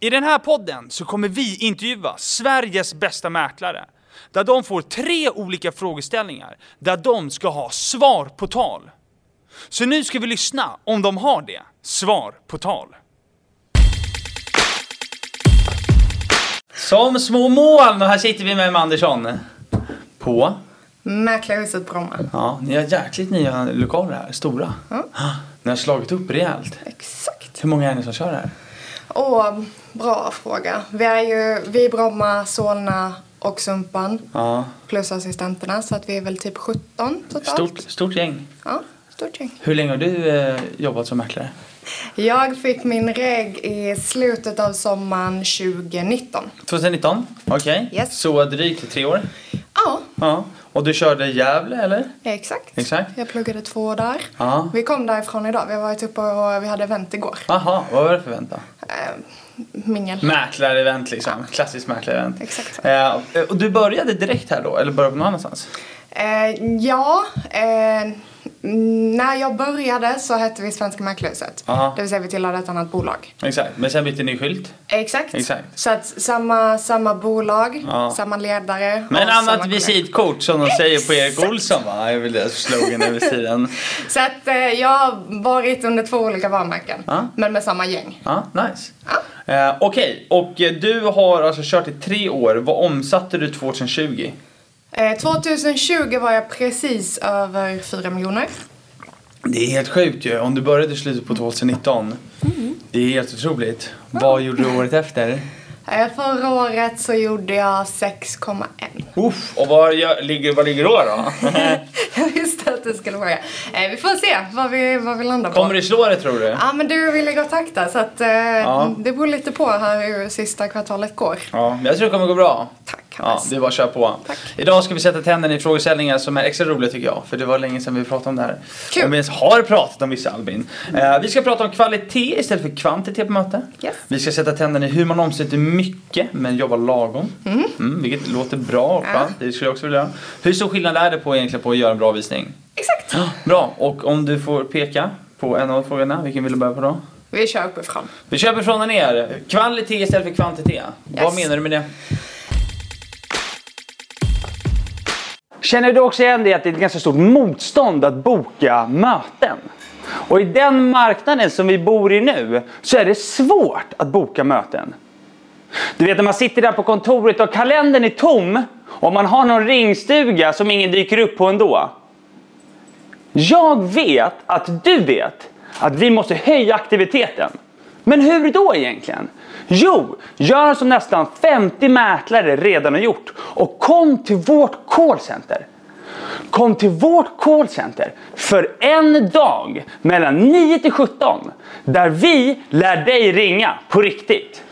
I den här podden så kommer vi intervjua Sveriges bästa mäklare. Där de får tre olika frågeställningar där de ska ha svar på tal. Så nu ska vi lyssna om de har det. Svar på tal. Som små moln och här sitter vi med Andersson. På? Mäklarhuset Bromma. Ja, ni har jäkligt nya lokaler här. Stora. Ja. Ni har slagit upp rejält. Exakt. Hur många är ni som kör här? Åh, bra fråga. Vi är ju vi är Bromma, Solna och Sumpan. Ja. Plus assistenterna, så att vi är väl typ 17 totalt. Stort, stort gäng. Ja, stort gäng. Hur länge har du eh, jobbat som mäklare? Jag fick min reg i slutet av sommaren 2019. 2019. Okej. Yes. Så drygt tre år. Ja, Ja. Och du körde i Gävle eller? exakt. Exakt. Jag pluggade två år där. Ja. Vi kom därifrån idag. Vi har varit uppe och vi hade event igår. Aha, vad var det för event då? Eh, mingel. Mäklarevent liksom. Klassiskt mäklarevent. Exakt så. Eh, och du började direkt här då? Eller började på någon annanstans? Eh, ja, eh, mm, när jag började så hette vi Svenska Mäklarhuset. Aha. Det vill säga vi tillhörde ett annat bolag. Exakt. Men sen bytte ni skylt. Exakt. Exakt. Så att samma, samma bolag, Ja. samma ledare. Men och samma annat kollegor. visitkort som de säger på Erik Olsson va? Det är väl deras slogan över sidan. Så att eh, jag har varit under två olika varumärken. Ja. Men med samma gäng. Ja, nice. Eh, Okej, och eh, du har alltså kört i tre år. Vad omsatte du 2020? Eh, 2020 var jag precis över 4 miljoner. Det är helt sjukt ju. Om du började i slutet på 2019. Det är helt otroligt. Vad gjorde du året efter? Eh, förra året så gjorde jag 6,1. Uff, och vad gör- ligger, vad ligger då? då? jag visste att du skulle fråga. Eh, vi får se vad vi, vad vi landar på. Kommer du slå det tror du? Ja men du vill ligga och takta så att eh, Ja. det beror lite på här hur sista kvartalet går. Ja, jag tror det kommer gå bra. Tack Ja, Hannes. det är bara att köra på. Tack. Idag ska vi sätta tänderna i frågeställningar som är extra roliga tycker jag. För det var länge sedan vi pratade om det här. Kul. Om vi ens har pratat om vissa Albin. Eh, vi ska prata om kvalitet istället för kvantitet på möte. Yes. Vi ska sätta tänderna i hur man omsätter mycket men jobbar lagom. Mm. vilket låter bra och Ja. skönt. Det skulle jag också vilja göra. Hur stor skillnad är det på egentligen på att göra en bra visning? Exakt. Bra, och om du får peka på en av frågorna, vilken vill du börja på då? Vi kör uppifrån. Vi köper från och ner. Kvalitet istället för kvantitet. Vad Yes. menar du med det? Känner du också igen det att det är ett ganska stort motstånd att boka möten? Och i den marknaden som vi bor i nu så är det svårt att boka möten. Du vet när man sitter där på kontoret och kalendern är tom och man har någon ringstuga som ingen dyker upp på ändå. Jag vet att du vet att vi måste höja aktiviteten. Men hur då egentligen? Jo, gör som nästan 50 mäklare redan har gjort och kom till vårt callcenter. Kom till vårt callcenter för en dag mellan 9 till 17 där vi lär dig ringa på riktigt.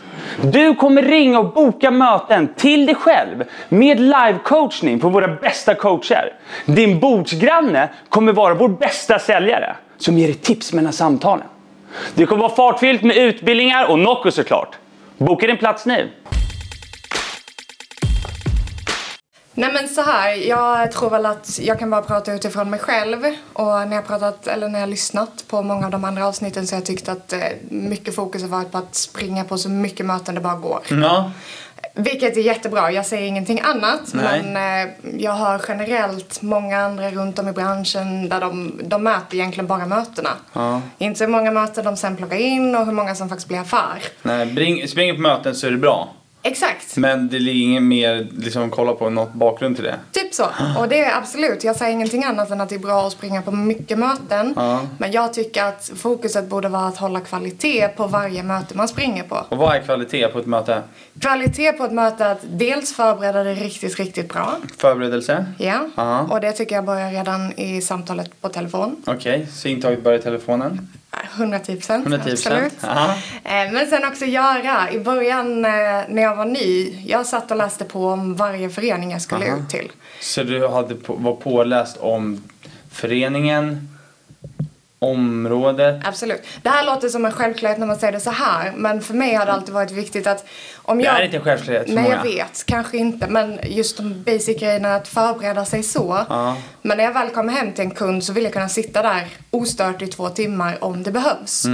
Du kommer ringa och boka möten till dig själv med live-coachning på våra bästa coacher. Din bordsgranne kommer vara vår bästa säljare som ger dig tips mellan samtalen. Det kommer vara fartfyllt med utbildningar och Nocco såklart. Boka din plats nu! Nej men så här, jag tror väl att jag kan bara prata utifrån mig själv och när jag pratat, eller när jag lyssnat på många av de andra avsnitten så har jag tyckt att eh, mycket fokus har varit på att springa på så mycket möten det bara går. Ja, Vilket är jättebra, jag säger ingenting annat. Nej. Men eh, jag hör generellt många andra runt om i branschen där de, de möter egentligen bara mötena. Ja. Inte hur många möten de sen plockar in och hur många som faktiskt blir affär. nej, bring, springer på möten så är det bra. Exakt, Men det ligger ingen mer liksom kolla på något bakgrund till det. typ så. Och det är absolut, jag säger ingenting annat än att det är bra att springa på mycket möten. Ja. Men jag tycker att fokuset borde vara att hålla kvalitet på varje möte man springer på. Och vad är kvalitet på ett möte? Kvalitet på ett möte är att dels förbereda det riktigt, riktigt bra. Förberedelse? Ja, Ja. och det tycker jag börjar redan i samtalet på telefon. Okej, så intaget börjar i telefonen. 110 procent. 110%, Absolut. aha. Eh, Men sen också göra. I början eh, när jag var ny, jag satt och läste på om varje förening jag skulle Aha. ut till. Så du hade på, var påläst om föreningen, området. Absolut. Det här låter som en självklarhet när man säger det så här, men för mig har det alltid varit viktigt att om Det jag... är inte en självklarhet för Nej, många. jag vet. Kanske inte, men just de basic grejerna att förbereda sig så. Ja. Men Mm. när jag väl kom hem till en kund så vill jag kunna sitta där ostört i två timmar om det behövs.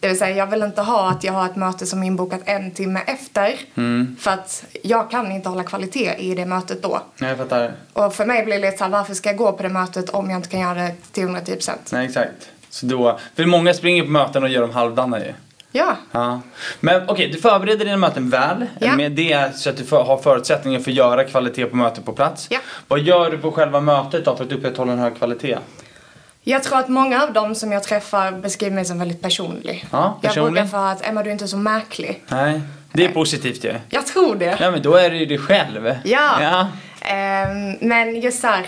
Det vill säga jag vill inte ha att jag har ett möte som är inbokat en timme efter. Mm. För att jag kan inte hålla kvalitet i det mötet då. Nej, jag fattar. Och för mig blir det lite såhär, varför ska jag gå på det mötet om jag inte kan göra det till 110%? Nej, exakt. Så då, för många springer på möten och gör dem halvdana ju. Ja, Ja. Men okej, du förbereder dina möten väl. Ja. Med det så att du för, har förutsättningar för att göra kvalitet på mötet på plats. Ja. Vad gör du på själva mötet då för att upprätthålla en hög kvalitet? jag tror att många av dem som jag träffar beskriver mig som väldigt personlig. Ja, Jag personlig. brukar få höra att Emma du är inte så märklig. Nej, det är Nej. positivt ju. Jag tror det. Ja men då är det ju dig själv. Ja. ja. Ehm, men just såhär,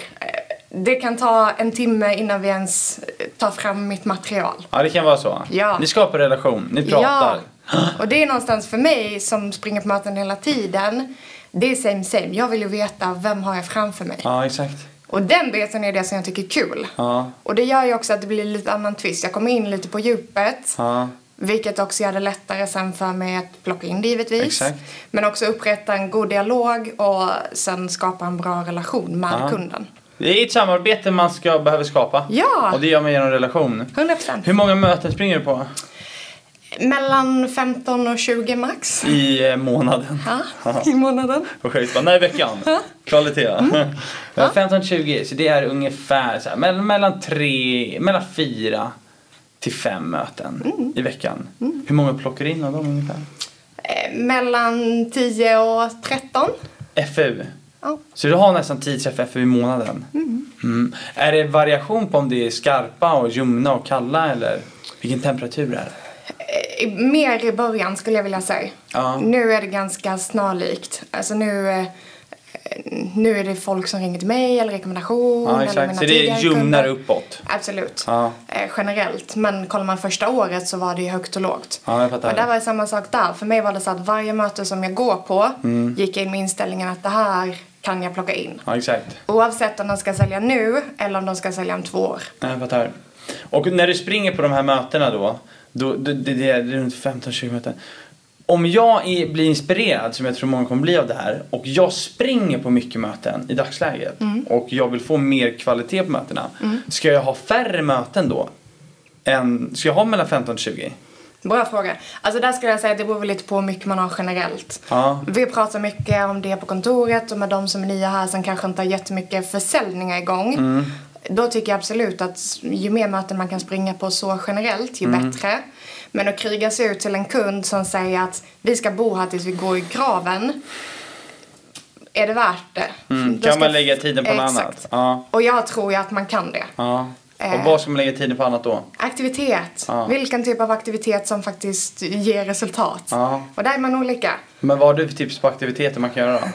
det kan ta en timme innan vi ens eh, tar fram mitt material. Ja, det kan vara så. Ja. Ni skapar relation, ni pratar. Ja, och det är någonstans för mig som springer på möten hela tiden. Det är same same. Jag vill ju veta vem har jag framför mig. Ja, exakt. Och den biten är det som jag tycker är kul. Ja. Och det gör ju också att det blir lite annan twist. Jag kommer in lite på djupet. Ja. Vilket också gör det lättare sen för mig att plocka in det givetvis. Exakt. Men också upprätta en god dialog och sen skapa en bra relation med Ja. kunden. Det är ett samarbete man ska, behöver skapa. Ja. Och det gör man genom relation. 100%. Hur många möten springer du på? Mellan 15 och 20 max. I eh, månaden. Ja, i månaden. Och sjukt bara, nej veckan. Kvalitet. Ja, 15-20, så det är ungefär så här, mellan, mellan, tre, mellan fyra till fem möten i veckan. Hur många plockar du in av dem ungefär? Eh, Mellan 10 och 13. FU. Ja. Så du har nästan 10 träffar FU i månaden? Mm. Är det variation på om det är skarpa och ljumna och kalla eller vilken temperatur är det? Eh, Mer i början skulle jag vilja säga. Ja. Nu är det ganska snarlikt. Alltså nu, eh, nu är det folk som ringer till mig eller rekommendation. Ja, eller exakt. mina Så det är tidigare ljumnare kunder. uppåt. Absolut. Ja. Eh, Generellt. Men kollar man första året så var det ju högt och lågt. Ja, jag fattar. Och där var det samma sak där. För mig var det så att varje möte som jag går på Mm. gick jag in med inställningen att det här kan jag plocka in. Ja, exakt. Oavsett om de ska sälja nu eller om de ska sälja om två år. Nej, Jag fattar. Och när du springer på de här mötena då, då det, det, det är runt 15-20 möten. Om jag är, blir inspirerad, som jag tror många kommer bli av det här, och jag springer på mycket möten i dagsläget och jag vill få mer kvalitet på mötena. Ska jag ha färre möten då? Än, ska jag ha mellan 15 och 20? Bra fråga. Alltså där skulle jag säga att det beror väl lite på hur mycket man har generellt. Ja. Vi pratar mycket om det på kontoret och med de som är nya här som kanske inte har jättemycket försäljningar igång. Mm. Då tycker jag absolut att ju mer möten man kan springa på så generellt, ju Mm. bättre. Men att kriga sig ut till en kund som säger att vi ska bo här tills vi går i graven. Är det värt det? Då Mm. Kan ska- man lägga tiden på något Exakt. annat? Ja. Och jag tror ju att man kan det. ja. Och Eh. vad ska man lägga tiden på annat då? Aktivitet. Ja. Vilken typ av aktivitet som faktiskt ger resultat. Ja. Och där är man olika. Men vad har du för tips på aktiviteter man kan göra då?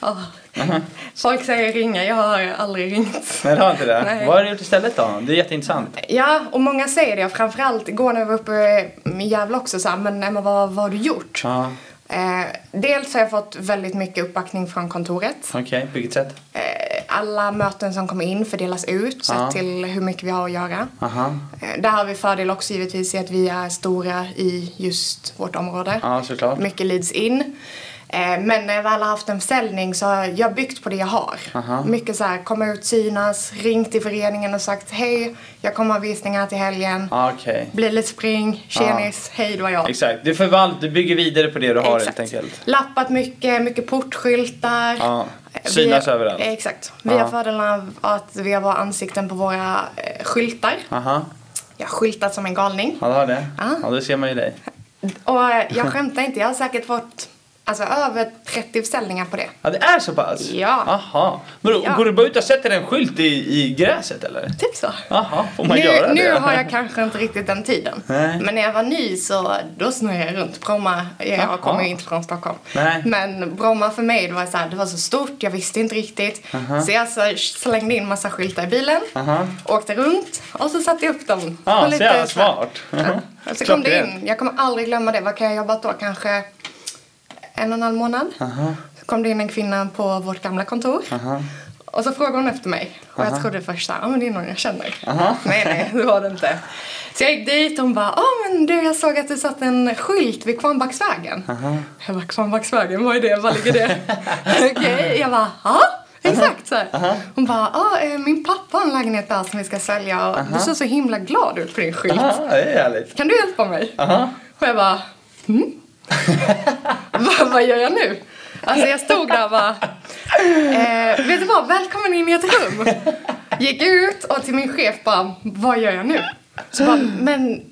Ja. Mhm. Folk säger ringa, jag har aldrig ringt. Nej, det har inte det. Nej. Vad har du gjort istället då? Det är jätteintressant. Ja, och många säger det. Och Framförallt igår när vi var uppe i Gävle också så här, men Emma vad, vad har du gjort? Ja. Eh, dels har jag fått väldigt mycket uppbackning från kontoret. Okej, på vilket sätt? Eh, alla möten som kommer in fördelas ut sett Ja. till hur mycket vi har att göra. Aha. Eh, Där har vi fördel också givetvis i att vi är stora i just vårt område. Ja, såklart. Mycket leads in. Eh, Men när jag väl har haft en försäljning så har jag byggt på det jag har. Aha. Mycket så här, komma ut, synas, ringt till föreningen och sagt hej, jag kommer ha visningar till helgen. Ja, Okej. Blir lite spring, tjenis, hej det var jag. Exakt. Du förvalt, du bygger vidare på det du har helt enkelt. Lappat mycket, mycket portskyltar. Ja. Eh, vi- Synas överallt. eh, Exakt. Vi Ja. har fördelen av att vi har våra ansikten på våra eh, skyltar. Aha, Jag har skyltat som en galning. ja du har det? Ja. Ja, då ser man ju dig. Och eh, jag skämtar inte, jag har säkert fått alltså, över 30 försäljningar på det. Ja, det är så pass? Ja. Aha. Men då, Ja. går du bara ut och sätter en skylt i, i gräset eller? Typ så. Jaha, får man Nu, göra nu det? har jag kanske inte riktigt den tiden. Nej. Men när jag var ny så då snurrade jag runt. Bromma, Jaha. jag kommer ju inte från Stockholm. Nej. Men Bromma för mig, det var, så här, det var så stort, jag visste inte riktigt. Så jag så slängde in massa skyltar i bilen, Aha. åkte runt och så satte jag upp dem. Ja, På så jävla så här- smart. Ja. Så Alltså, kom det Klockrent. in, jag kommer aldrig glömma det. Vad kan jag ha jobbat då? Kanske en och en halv månad. Så kom det in en kvinna på vårt gamla kontor. Och så frågade hon efter mig. Och jag trodde först såhär, ja men det är någon jag känner. Nej nej, det var det inte. Så jag gick dit och hon bara, ja men du jag såg att du satt en skylt vid Kvarnbacksvägen. Jag bara, Kvarnbacksvägen, vad är det? Var ligger det? Okej, jag bara, ja. Exakt så. här. Hon bara, ah, eh, min pappa har en lägenhet där som vi ska sälja och du ser så himla glad ut på din skylt. Ja, det är härligt. Kan du hjälpa mig? Och jag bara, mm? vad, vad gör jag nu? Alltså jag stod där och bara, eh, vet du vad, välkommen in i ett rum. Gick ut och till min chef bara, vad gör jag nu? Så bara, men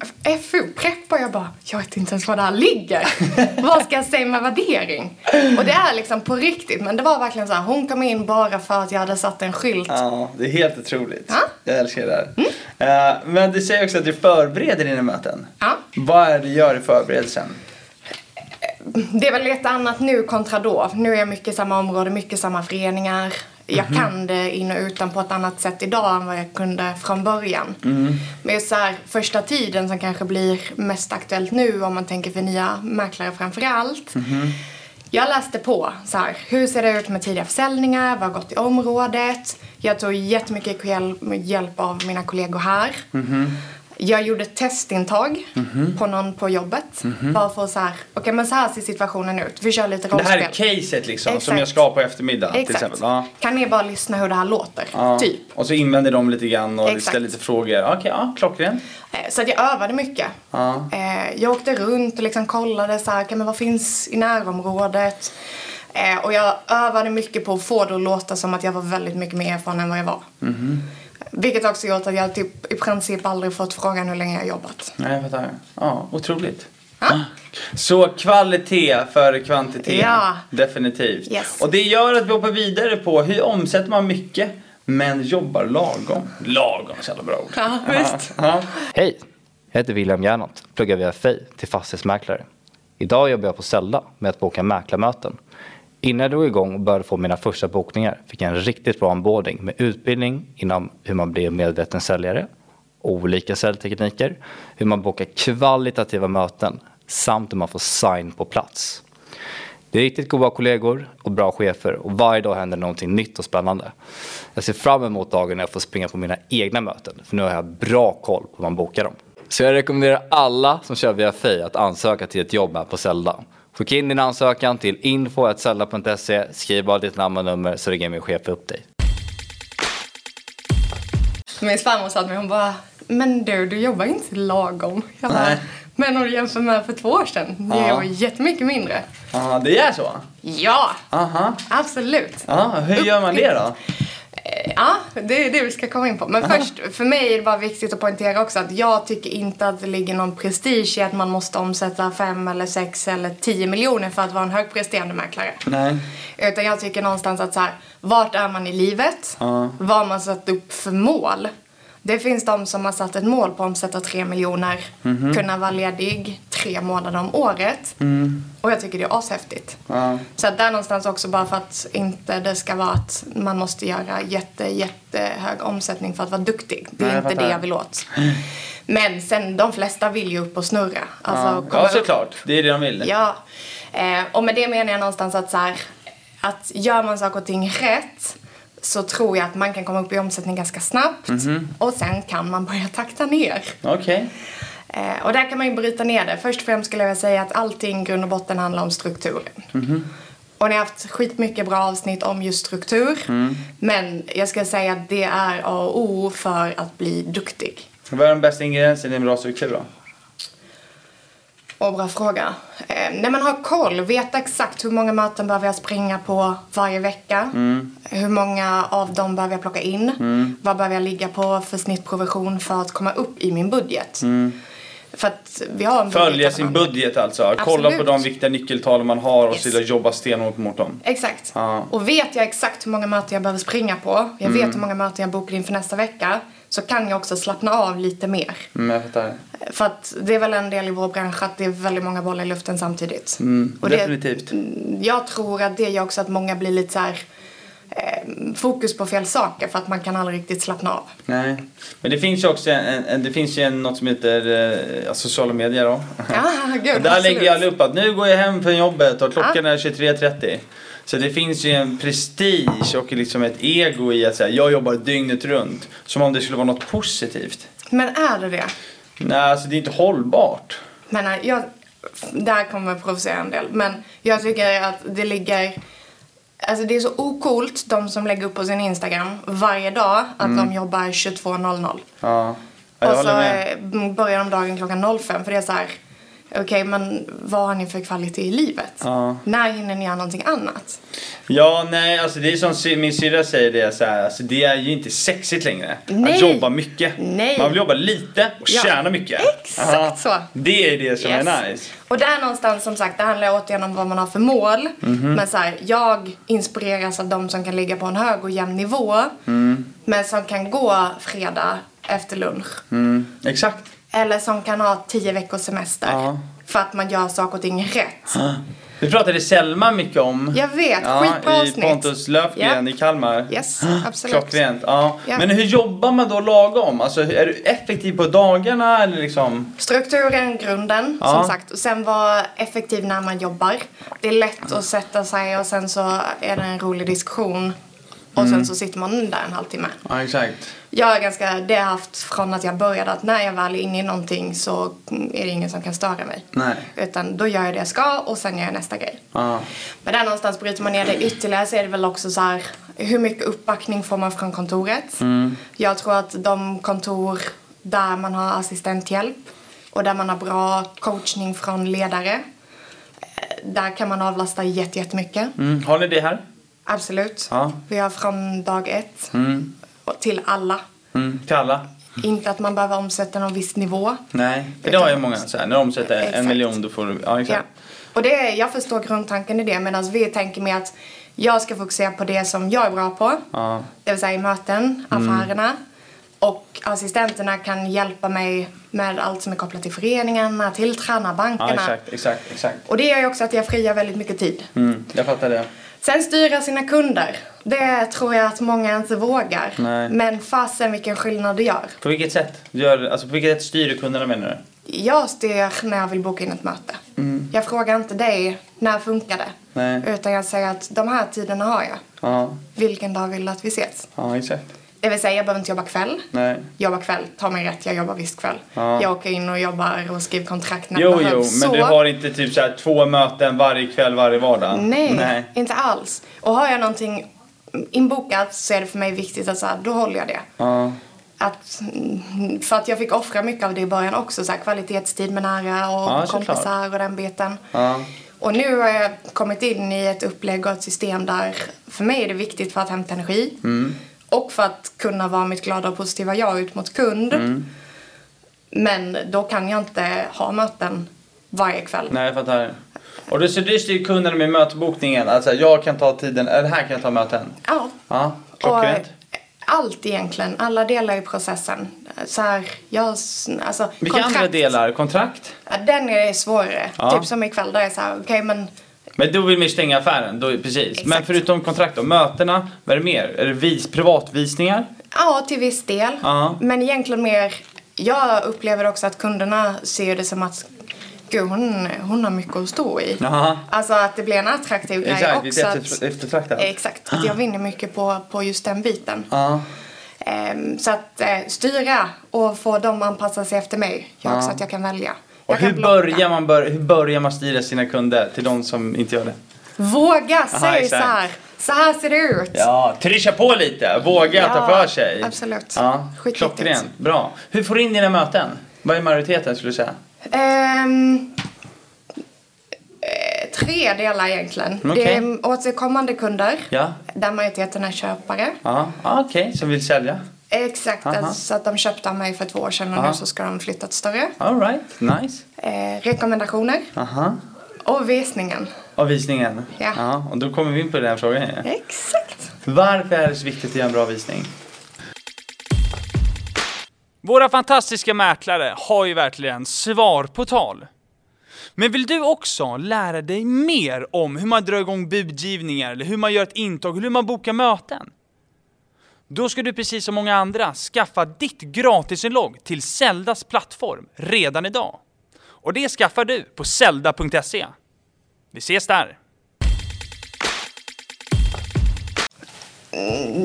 FU, prepp och jag bara, jag vet inte ens var det här ligger. Vad ska jag säga med värdering? Och det är liksom på riktigt, men det var verkligen så här, hon kom in bara för att jag hade satt en skylt. Ja, det är helt otroligt. Ja. Mm. Jag älskar det här. Eh, men du säger också att du förbereder dina möten. Ja. Vad är det du gör i förberedelsen? Det är väl lite annat nu kontra då. Nu är jag mycket i samma område, mycket samma föreningar. Jag kan det in och utan på ett annat sätt idag än vad jag kunde från början. Men just så här, första tiden som kanske blir mest aktuellt nu om man tänker för nya mäklare framför allt. Jag läste på så här, hur ser det ut med tidiga försäljningar, vad har gått i området? Jag tog jättemycket hjäl- hjälp av mina kollegor här. Mhm. Jag gjorde ett testintag på någon på jobbet. Bara för att så här, okej men så här ser situationen ut. Vi kör lite Mhm. Det rollspel. här är caset liksom som Exakt. jag ska ha på eftermiddag till Exakt. exempel. Ja. Kan ni bara lyssna hur det här låter? Ja. Typ. Och så invänder de lite grann och Exakt. ställer lite frågor. Okej, ja, klockren. Eh, Så att jag övade mycket. Ja. Eh, Jag åkte runt och liksom kollade så här, "Okej, men vad finns i närområdet? Eh, Och jag övade mycket på att få det att låta som att jag var väldigt mycket mer erfaren än vad jag var. Mhm. Vilket också gjort att jag typ, i princip aldrig fått frågan hur länge jag jobbat. Nej, jag fattar. Ja, otroligt. Ja. Så kvalitet före kvantitet. Ja. Definitivt. Yes. Och det gör att vi hoppar vidare på hur omsätter man mycket men jobbar lagom. Lagom, så jävla bra ord. Ja, visst. Ja. Hej! Jag heter William Gernandt, pluggar via FEI till fastighetsmäklare. Idag jobbar jag på Sälda med att boka mäklarmöten. Innan jag drog igång och började få mina första bokningar fick jag en riktigt bra onboarding med utbildning inom hur man blir en medveten säljare, olika säljtekniker, hur man bokar kvalitativa möten samt hur man får sign på plats. Det är riktigt goda kollegor och bra chefer och varje dag händer någonting nytt och spännande. Jag ser fram emot dagen när jag får springa på mina egna möten för nu har jag bra koll på hur man bokar dem. Så jag rekommenderar alla som kör via Fej att ansöka till ett jobb här på Zelda. Skicka in din ansökan till info.zelda.se, skriv bara ditt namn och nummer så ringer min chef upp dig. Min svärmor sa till mig, hon bara, men du, du jobbar inte lagom. Jag bara, Nej. men om du jämför med för två år sedan, jag Ja. jobbar jättemycket mindre. Ja, det är så? Ja, Aha. absolut. Ja, hur gör man det då? Ja, det är det vi ska komma in på. Men först, för mig är det bara viktigt att poängtera också att jag tycker inte att det ligger någon prestige i att man måste omsätta fem eller sex eller tio miljoner för att vara en högpresterande mäklare. Nej. Utan jag tycker någonstans att så här, vart är man i livet? Ja. Vad har man satt upp för mål? Det finns de som har satt ett mål på att omsätta tre miljoner, kunna vara ledig tre månader om året. Och jag tycker det är ashäftigt. Ja. Så att där någonstans också bara för att inte det ska vara att man måste göra jätte, jättehög omsättning för att vara duktig. Det är Nej, jag inte fattar. det jag vill åt. Men sen, de flesta vill ju upp och snurra. Alltså, Ja, komma ja upp. såklart. Det är det de vill. Ja. Eh, och med det menar jag någonstans att så här, att gör man saker och ting rätt så tror jag att man kan komma upp i omsättning ganska snabbt Mhm. och sen kan man börja takta ner. Okej. Eh, och där kan man ju bryta ner det. Först och främst skulle jag vilja säga att allting i grund och botten handlar om strukturen. Och ni har haft skitmycket bra avsnitt om just struktur. Men jag ska säga att det är A och O för att bli duktig. Vad är de bästa ingredienserna i en bra struktur då? Åh, bra fråga. Eh, när man har koll, vet exakt hur många möten behöver jag springa på varje vecka. Hur många av dem behöver jag plocka in. Vad behöver jag ligga på för snittprovision för att komma upp i min budget. För att vi har en budget. Följa sin man- budget alltså. Kolla på de viktiga nyckeltalen man har och Yes. se till att jobba stenhårt mot dem. Exakt. Ja. Mm. Och vet jag exakt hur många möten jag behöver springa på, jag vet hur många möten jag bokar in för nästa vecka, så kan jag också slappna av lite mer. Mm, jag fattar. För att det är väl en del i vår bransch att det är väldigt många bollar i luften samtidigt. Och det- Mm, Mm, Definitivt. Jag tror att det gör också att många blir lite så här eh, fokus på fel saker för att man kan aldrig riktigt slappna av. Nej. Men det finns ju också en, en, det finns ju en, något som heter eh, ja, sociala medier då. Ja, Ah, gud, Och där absolut. lägger jag alla upp att nu går jag hem från jobbet och klockan är 23.30. Så det finns ju en prestige och liksom ett ego i att säga jag jobbar dygnet runt. Som om det skulle vara något positivt. Men är det det? Nej, alltså det är inte hållbart. Men eh, jag, där kommer jag provocera en del. Men jag tycker att det ligger Alltså det är så ocoolt de som lägger upp på sin Instagram varje dag att de jobbar 22.00. Ja. Mm. ja jag och så håller med. eh, börjar de dagen klockan 05 för det är så här okej men vad har ni för kvalitet i livet? Ja. När hinner ni göra någonting annat? Ja, nej, alltså det är som sy- min syrra säger det så här, alltså det är ju inte sexigt längre. Nej. Att jobba mycket. Nej. Man vill jobba lite och Ja. tjäna mycket. Exakt Aha. så. Det är det som Yes. är nice. Och där någonstans som sagt, det handlar återigen om vad man har för mål. Mhm. Men så här, jag inspireras av de som kan ligga på en hög och jämn nivå. Men som kan gå fredag efter lunch. Mm. Exakt. Eller som kan ha tio veckors semester. Ja. För att man gör saker och ting rätt. Det pratade Selma mycket om. Jag vet, skitbra I avsnitt. Pontus Löfgren i Kalmar. Yes, absolut. Klockrent. Ja. Ja. Men hur jobbar man då lagom? Alltså är du effektiv på dagarna eller liksom? Strukturen, grunden Ja. som sagt. Och sen vara effektiv när man jobbar. Det är lätt att sätta sig och sen så är det en rolig diskussion. Och Mm. sen så sitter man där en halvtimme. Ja exakt. Jag är ganska, det har jag haft från att jag började att när jag väl är inne i någonting så är det ingen som kan störa mig. Nej. Utan då gör jag det jag ska och sen gör jag nästa grej. Ja. Men där någonstans bryter man ner det ytterligare så är det väl också så här hur mycket uppbackning får man från kontoret? Mm. Jag tror att de kontor där man har assistenthjälp och där man har bra coachning från ledare eh, där kan man avlasta jätte- jättemycket. Mm. Har ni det här? Absolut. Ja. Vi har från dag ett Mm. och till alla. Mm. Till alla? Inte att man behöver omsätta någon viss nivå. Nej. För det har ju många så här, när de omsätter en Exakt. miljon då får du, ja Ja. exakt. Och det, är- jag förstår grundtanken i det medan vi tänker mer att jag ska fokusera på det som jag är bra på. Ja. Mm. Det vill säga i möten, affärerna. Och assistenterna kan hjälpa mig med allt som är kopplat till föreningarna, till Ja, tränarbankerna. exakt, exakt, exakt. och det gör ju också att jag friar väldigt mycket tid. Mm, jag fattar det. Sen styra sina kunder. Det tror jag att många inte vågar. Nej. Men fasen vilken skillnad det gör. På vilket sätt? Gör, alltså på vilket sätt styr du kunderna menar du? Jag styr när jag vill boka in ett möte. Jag frågar inte dig, när funkar det? Mm. Nej. Utan jag säger att de här tiderna har jag. Ja, Vilken dag vill du att vi ses? ja exakt. Det vill säga, jag behöver inte jobba kväll. Nej. Jobba kväll, ta mig rätt, jag jobbar visst kväll. Ja. Jag åker in och jobbar och skriver kontrakt när Jo, det jo, behövs. men Så- du har inte typ så här två möten varje kväll, varje vardag? Nej, Nej. inte alls. Och har jag någonting inbokat så är det för mig viktigt att så här, då håller jag det. Ja, Att, mm, för att jag fick offra mycket av det i början också. Så här, kvalitetstid med nära och Ja, såklart. kompisar och den biten. ja, Och nu har jag kommit in i ett upplägg och ett system där för mig är det viktigt för att hämta energi Mm. och för att kunna vara mitt glada och positiva jag ut mot kund. Mm. Men då kan jag inte ha möten varje kväll. nej jag fattar. Och du, så du styr kunderna med mötesbokningen? Alltså jag kan ta tiden, eller här kan jag ta möten? Ja. Ja, Och klockrent. allt egentligen, alla delar i processen. Så här, jag, s- alltså, Vilka andra kontrakt, delar? Kontrakt? ja, Den är svårare. Ja. Typ som ikväll där jag är så här, okej men Men då vill man ju stänga affären, då, precis. Men Exakt. förutom kontrakt och mötena, vad är det mer? Är det vis, privatvisningar? Ja, till viss del. Ja. Men egentligen mer... Jag upplever också att kunderna ser det som att Gud, hon, hon har mycket att stå i. Jaha. Alltså att det blir en attraktiv grej Exakt, det är också. efter- eftertraktat. Ah. Exakt, att jag vinner mycket på, på just den biten. Ja. Ehm, så att eh, styra och få dem att anpassa sig efter mig. Jag också att jag kan välja. Och jag kan hur blocka. börjar, man bör, hur börjar man styra sina kunder till de som inte gör det? Våga, säg så exakt. här. Så här ser det ut. Ja, trycka på lite, våga Ja, ta för sig. absolut. Ja, Skitviktigt. klockrent, bra. Hur får du in dina möten? Vad är majoriteten skulle du säga? Ehm, eh, tre delar egentligen. Mm, Det okej. är återkommande kunder, Ja. där majoriteten är köpare. Ja, ja okej, som vill sälja. Exakt, Aha. alltså, så att de köpte av mig för två år sedan och Ja. nu så ska de flytta till större. Alright, nice. Eh, rekommendationer Aha. och visningen. Och visningen. Ja. och då kommer vi in på den här frågan ju. Exakt. Varför är det så viktigt att göra en bra visning? Våra fantastiska mäklare har ju verkligen svar på tal. Men vill du också lära dig mer om hur man drar igång budgivningar, eller hur man gör ett intag, hur man bokar möten? Då ska du precis som många andra skaffa ditt gratisinlogg till Zeldas plattform redan idag. Och det skaffar du på zelda.se. Vi ses där!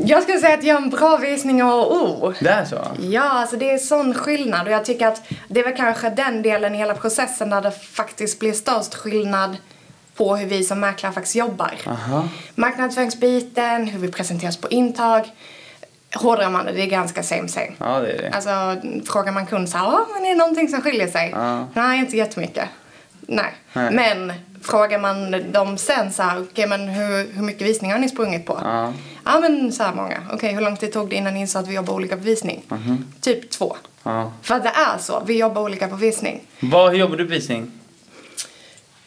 Jag skulle säga att jag är en bra visning och oh. Det är så? Ja, alltså det är sån skillnad och jag tycker att det är väl kanske den delen i hela processen där det faktiskt blir störst skillnad på hur vi som mäklare faktiskt jobbar. Marknadsföringsbiten, hur vi presenteras på intag. Hårdrar man det, det är ganska same same. Ja, det är det. Alltså, frågar man kund så här, "Ja, men är det någonting som skiljer sig? Ja. Nej, inte jättemycket. Nej. Nej. Men frågar man dem sen så här, okej men hur, hur mycket visningar har ni sprungit på? Ja. Ja, men så här många. Okej, hur lång tid tog det innan ni insåg att vi jobbar olika på visning? Typ två. Mhm. Ja. För att det är så, vi jobbar olika på visning. Vad, hur jobbar du på visning?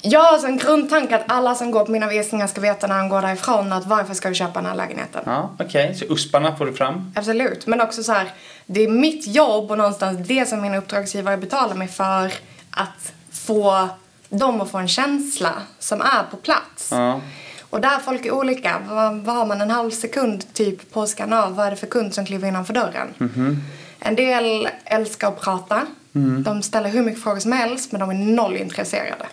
Jag har alltså en grundtanke att alla som går på mina visningar ska veta när de går därifrån att varför ska vi köpa den här lägenheten? Ja, okej. Så usparna får du fram? Absolut, men också så här, det är mitt jobb och någonstans det som mina uppdragsgivare betalar mig för att få dem att få en känsla som är på plats. Ja. Och där folk är olika, vad, vad har man en halv sekund typ på att skanna av vad är det för kund som kliver innanför dörren? En del älskar att prata. De ställer hur mycket frågor som helst men de är noll intresserade.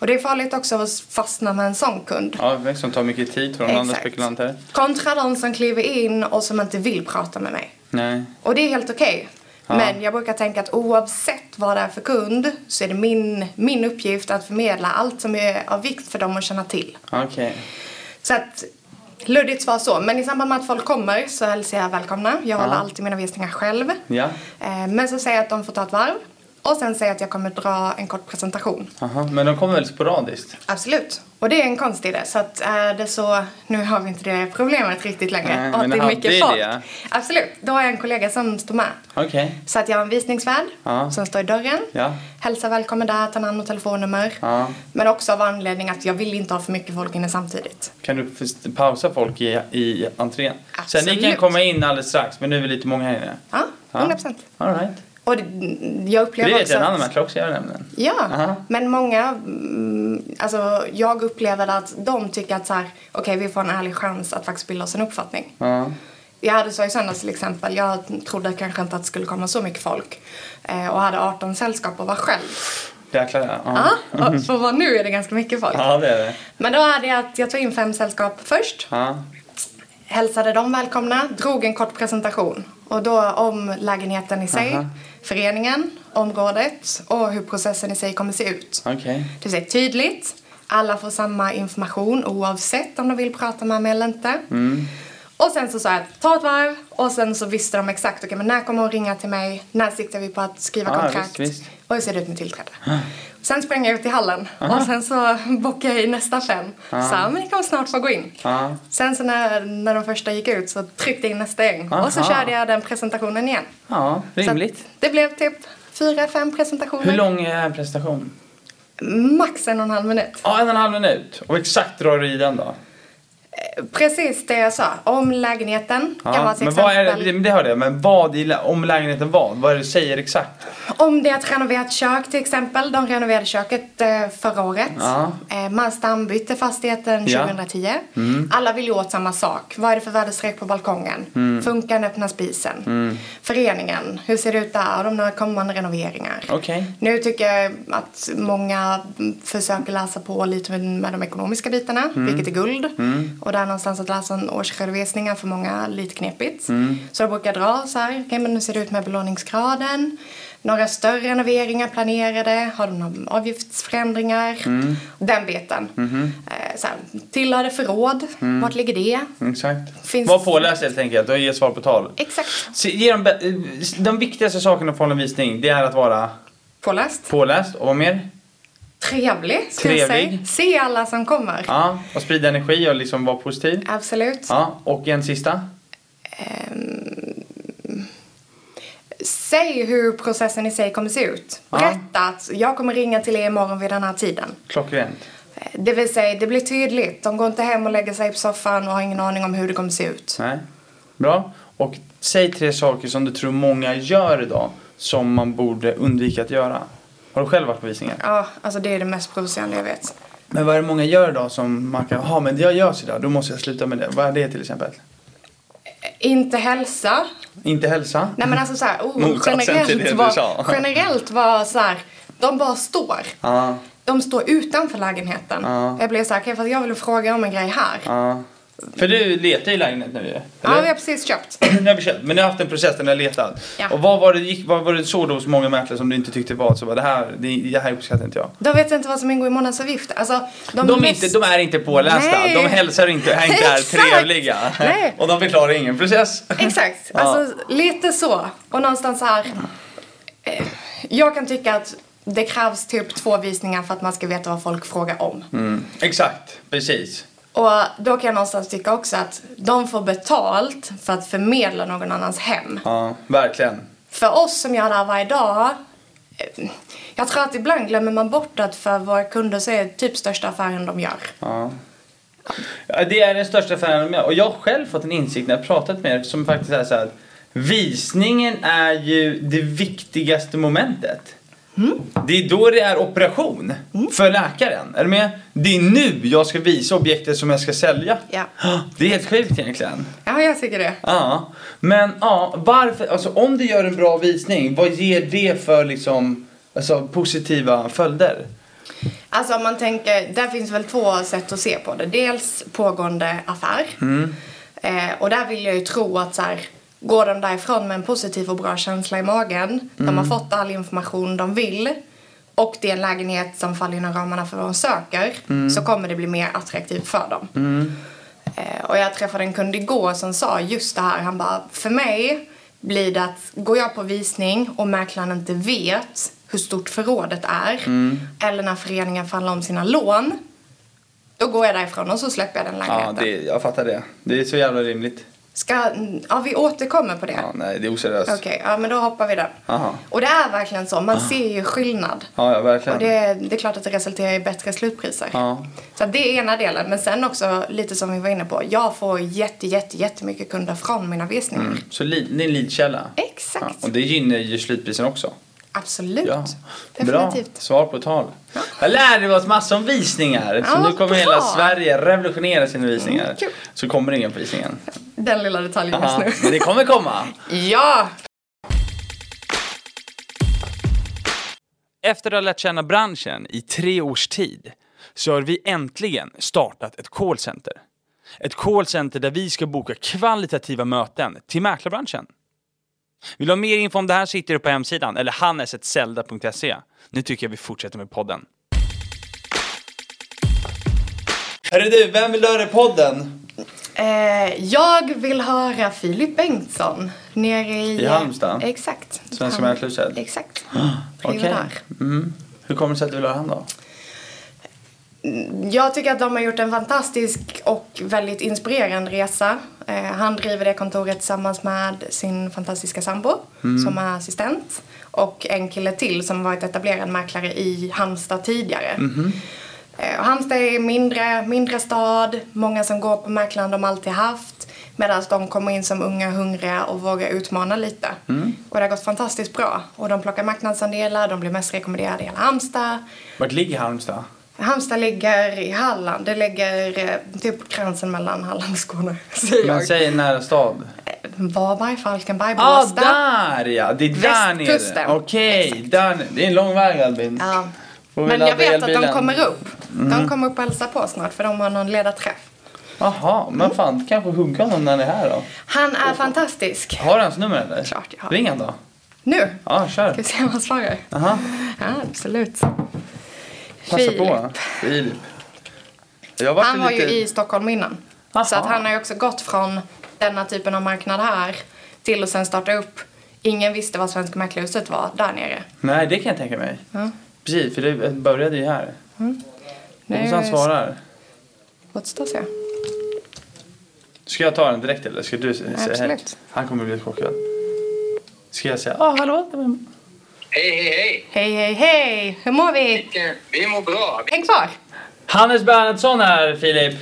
Och det är farligt också att fastna med en sån kund. Ja, som tar mycket tid från andra spekulanter. Kontra de som kliver in och som inte vill prata med mig. Nej. Och det är helt okej. Men jag brukar tänka att oavsett vad det är för kund så är det min, min uppgift att förmedla allt som är av vikt för dem att känna till. Okej. Så att, luddigt svar så. Men i samband med att folk kommer så hälsar jag välkomna. Jag håller alltid mina visningar själv. Ja. Eh, Men så säger jag att de får ta ett varv. Och sen säger jag att jag kommer dra en kort presentation. Aha. Men de kommer väl sporadiskt? Absolut. Och det är en konst i det. Så att är det så, nu har vi inte det problemet riktigt längre. Nej, och men att det är hade mycket vi folk. det? Absolut. Då har jag en kollega som står med. Okej. Så att jag har en visningsvärd Ja. som står i dörren. Ja. Hälsar välkommen där, tar namn och telefonnummer. Ja. Men också av anledning att jag vill inte ha för mycket folk inne samtidigt. Kan du först- pausa folk i, i entrén? Absolut. Så ni kan komma in alldeles strax, men nu är vi lite många här inne. Ja, 100 procent. All right. Och det, jag Det upplever vet också jag en annan att... mäklare också gör nämligen. Ja, Aha. men många, mm, alltså jag upplever att de tycker att så här, okej vi får en ärlig chans att faktiskt bilda oss en uppfattning. Ja. Jag hade så i söndags till exempel. Jag trodde kanske inte att det skulle komma så mycket folk. Eh, och hade 18 sällskap och var själv. Jäklar ja. Ja, Ja. och för vad nu är det ganska mycket folk. ja, det är det. Men då hade jag att jag tog in fem sällskap först. Ja. Hälsade dem välkomna, drog en kort presentation. Och då om lägenheten i sig, föreningen, området och hur processen i sig kommer se ut. Okej. Det är tydligt. Alla får samma information oavsett om de vill prata med mig eller inte. Mm. Och sen så sa jag ta ett varv och sen så visste de exakt okej men när kommer hon ringa till mig, när siktar vi på att skriva Ja, kontrakt Ah, visst, Ah. visst. och hur ser det ut med tillträde. Sen sprang jag ut i hallen och sen så bockade jag i nästa fem. Ah. Så här, men ni kommer snart få gå in. Ja. Sen så när, när de första gick ut så tryckte jag in nästa gäng och så Aha. körde jag den presentationen igen. Ja, Så att rimligt. det blev typ fyra, fem presentationer. Hur lång är en presentation? Max en och en halv minut. Ja, en och en halv minut. Och exakt drar du i den då? Precis det jag sa, om lägenheten. kan vara Ja. till Men vad är exempel, det, Mm, det, det hörde jag, men vad i, lä- om lägenheten vad? Vad är det du säger exakt? Om det är ett renoverat kök till exempel. De renoverade köket eh, förra året. Ja. Eh, man stambytte fastigheten Ja. Mm. 2010. Alla vill ju åt samma sak. Vad är det för väderstreck på balkongen? Mm. Funkar den öppna spisen? Föreningen, hur ser det ut där? Har de några kommande renoveringar? Okej. Nu tycker jag att många mm, försöker läsa på lite med, med de ekonomiska bitarna, Mm. vilket är guld. Och där någonstans att läsa en årsredovisning är för många lite knepigt. Mm. Så jag brukar dra så här, okej men hur ser det ut med belåningsgraden? Några större renoveringar planerade? Har de några avgiftsförändringar? Mm. Den biten. Mm-hmm. Eh, Så här, tillhörde förråd, Mm. vart ligger det? Exakt. Finns- Var påläst helt enkelt och ge svar på tal. Exakt. Se- Ge dem be- eh, de viktigaste sakerna från en visning, det är att vara Påläst. påläst och vad mer? Trevlig, ska jag säga. Trevlig. Se alla som kommer. Ja, och sprida energi och liksom vara positiv. Absolut. Ja, och en sista. Säg hur processen i sig kommer se ut. Berätta att jag kommer ringa till er imorgon vid den här tiden. Klockrent. Eh, Det vill säga, det blir tydligt. De går inte hem och lägger sig på soffan och har ingen aning om hur det kommer se ut. Nej. Bra. Och säg tre saker som du tror många gör idag som man borde undvika att göra. Har du själv varit på visningar? Ja, alltså det är det mest provocerande jag vet. Men vad är det många gör idag som man kan, ja men jag gör sådär, då måste jag sluta med det. Vad är det till exempel? Eh, Inte hälsa. Inte hälsa? Nej men alltså såhär, oh, Motsatsen till det generellt du var, sa. generellt var såhär, de bara står. Ja, De står utanför lägenheten. Ja. Jag blev såhär, okej fast jag vill fråga om en grej här. ja. För du letar ju lägenhet nu ju. Ja, vi eller? har precis köpt. Nu har vi köpt, men ni har haft en process där ni har letat. Ja. Och vad var det, gick, vad var det så då hos många mäklare som du inte tyckte var så bara, det här, det, det här uppskattar inte jag. De vet inte vad som ingår i månadsavgift. Alltså, de De är, mest- inte, de är inte pålästa, Nej. de hälsar inte, är inte är Exakt. trevliga. Nej. Och de förklarar ingen process. Exakt, Ja. alltså lite så. Och någonstans så här. eh, Jag kan tycka att det krävs typ två visningar för att man ska veta vad folk frågar om. Mm. Exakt, precis. Och då kan jag någonstans tycka också att de får betalt för att förmedla någon annans hem. Ja, verkligen. För oss som gör det här varje dag. eh, Jag tror att ibland glömmer man bort att för våra kunder så är det typ största affären de gör. Ja. Ja, Det är den största affären med. Och jag har själv fått en insikt när jag pratat med er som faktiskt är så här att visningen är ju det viktigaste momentet. Det är då det är operation för läkaren. Är du med? Det är nu jag ska visa objektet som jag ska sälja. Ja. Det är helt sjukt egentligen. Ja, jag tycker det. Ja, men ja, varför, alltså om du gör en bra visning, vad ger det för liksom, alltså positiva följder? Alltså om man tänker, där finns väl två sätt att se på det. Dels pågående affär. Eh, och där vill jag ju tro att så här, går de därifrån med en positiv och bra känsla i magen. De har fått all information de vill. Och det är en lägenhet som faller inom ramarna för vad de söker. Så kommer det bli mer attraktivt för dem. Eh, och jag träffade en kund igår som sa just det här. Han bara, för mig blir det att går jag på visning och mäklaren inte vet hur stort förrådet är Mm. eller när föreningen förhandlar om sina lån. Då går jag därifrån och så släpper jag den Ja, lägenheten. det, jag fattar det. Det är så jävla rimligt. Ska, ja, vi återkommer på det. Ja, nej, det är oseriöst. Okej, ja men då hoppar vi där. Aha. Och det är verkligen så, man ser ju skillnad. Ja, ja, verkligen. Och det, det är klart att det resulterar i bättre slutpriser. Ja. Så att det är ena delen. Men sen också lite som vi var inne på. Jag får jätte, jätte, jättemycket kunder från mina visningar. Så li, det är en leadkälla. Mm. Ja, Exakt. och det gynnar ju slutprisen också. Absolut. Ja. Bra. Definitivt. Svar på tal. Här lärde vi oss massor om visningar. så Ja, nu kommer hela bra. Sverige revolutionera sina visningar. Mm, kul. så kommer det ingen på visningen. Den lilla detaljen Ja, just men nu. det kommer komma. ja! Efter att ha lärt känna branschen i tre års tid så har vi äntligen startat ett callcenter. Ett callcenter där vi ska boka kvalitativa möten till mäklarbranschen. Vill du ha mer info om det här sitter du på hemsidan eller hannesetzelda.se. Nu tycker jag vi fortsätter med podden. Hörru du, vem vill höra i podden? Eh, jag vill höra Filip Bengtsson nere i... I Halmstad? Exakt. Svenska Han- Mäklarhuset? Exakt. Okej. Driver där. Mm. Hur kommer det sig att du vill höra han då? Jag tycker att de har gjort en fantastisk och väldigt inspirerande resa. Eh, han driver det kontoret tillsammans med sin fantastiska sambo som är assistent och en kille till som varit etablerad mäklare i Halmstad tidigare. Eh, och Halmstad är mindre, mindre stad, många som går på mäklaren de alltid haft medan de kommer in som unga, hungriga och vågar utmana lite. Och det har gått fantastiskt bra. Och de plockar marknadsandelar, de blir mest rekommenderade i hela Halmstad. Vart ligger Halmstad? Halmstad ligger i Halland. Det ligger eh, typ gränsen mellan Halland och Skåne. Säger Man jag. Eh, säger nära stad. Varberg, Falkenberg, Ah, Båstad. där ja! Det är där nere. Västkusten. Okej, där nere. Det är en lång väg Albin. ja. Får vi Men ladda jag vet att de elbilen? Mm. kommer upp. De kommer upp och hälsar på snart för de har någon ledarträff. Jaha, men fan kanske hugga honom när han är här då. Han är Oh. fantastisk. Har du hans nummer eller? Klart jag har. Ring han då. Nu Ja, kör. ska vi se om han svarar. Aha, Ja, absolut. passa på. Filip. Jag varit Han var ju lite... i Stockholm innan. Så Aha. att han har ju också gått från denna typen av marknad här till att sen starta upp. Ingen visste vad Svenska Mäklarhuset var där nere. Nej, det kan jag tänka mig. Ja. Precis, för det började ju här. Nu Hoppas han svarar. återstår att se. Ska jag ta den direkt eller ska du säga hej? Absolut. Han kommer bli chockad. Ska jag säga ah hallå? det var jag." Hej, hej, hej! Hej, hej, hej! Hur mår vi? Vilken- Vi mår bra. Häng kvar! Hannes Bernhardsson här Filip.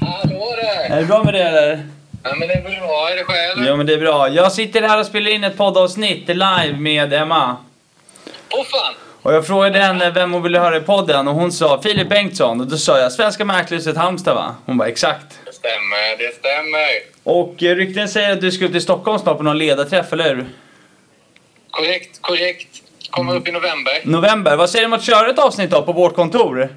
Hallå där! Är det bra med det eller? Ja, men det är bra. Är det själv? Jo men det är bra. Jag sitter här och spelar in ett poddavsnitt live med Emma. Åh fan! Och jag frågade henne vem hon ville höra i podden och hon sa Filip Bengtsson och då sa jag Svenska Mäklarhuset Halmstad va? Hon bara exakt. Det stämmer, det stämmer. Och eh, rykten säger att du ska upp till Stockholm snart på någon ledarträff eller hur? Korrekt, korrekt. Kommer upp i november. November. Vad säger du om att köra ett avsnitt då på vårt kontor?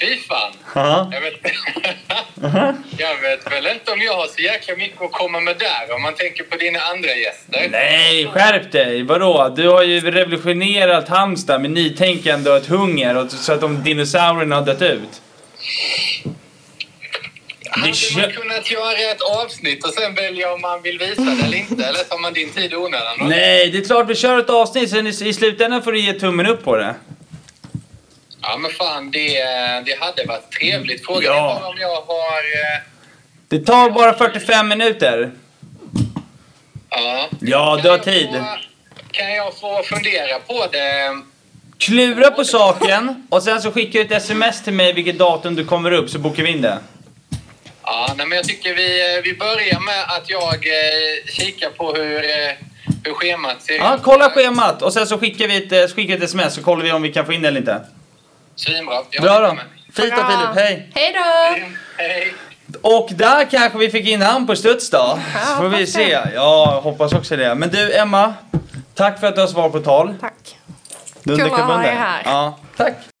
Fy fan. Ja. Jag vet, jag vet väl inte om jag har så jäkla mycket att komma med där om man tänker på dina andra gäster. Nej, skärp dig! Vadå? Du har ju revolutionerat Halmstad med nytänkande och ett hunger och så att de dinosaurierna har dött ut. Det Hade man kö- kunnat göra ett avsnitt och sen välja om man vill visa det eller inte? Eller tar man din tid i onödan? då? Nej, det är klart vi kör ett avsnitt sen i, i slutändan får du ge tummen upp på det. Ja, men fan, det, det hade varit trevligt. Frågan Ja. är bara om jag har... eh, Det tar bara 45 minuter. Ja, Ja, Kan du har jag tid. Få, kan jag få fundera på det? Klura på saken och sen så skickar du ett sms till mig vilket datum du kommer upp så bokar vi in det. Ja, nej, men jag tycker vi, eh, vi börjar med att jag eh, kikar på hur, eh, hur schemat ser Ja, kolla schemat och sen så skickar vi ett, eh, skickar ett sms så kollar vi om vi kan få in det eller inte. Svinbra. Jag Bra håller då. med. Fint då Bra. Filip, hej! Hej då! Hej. Och där kanske vi fick in han på studs då. Så får vi hoppas se. det. Ja, hoppas också det. Men du Emma, tack för att du har svar på tal. Tack. Dunderklubben Kul att ha där. er här. Ja, tack.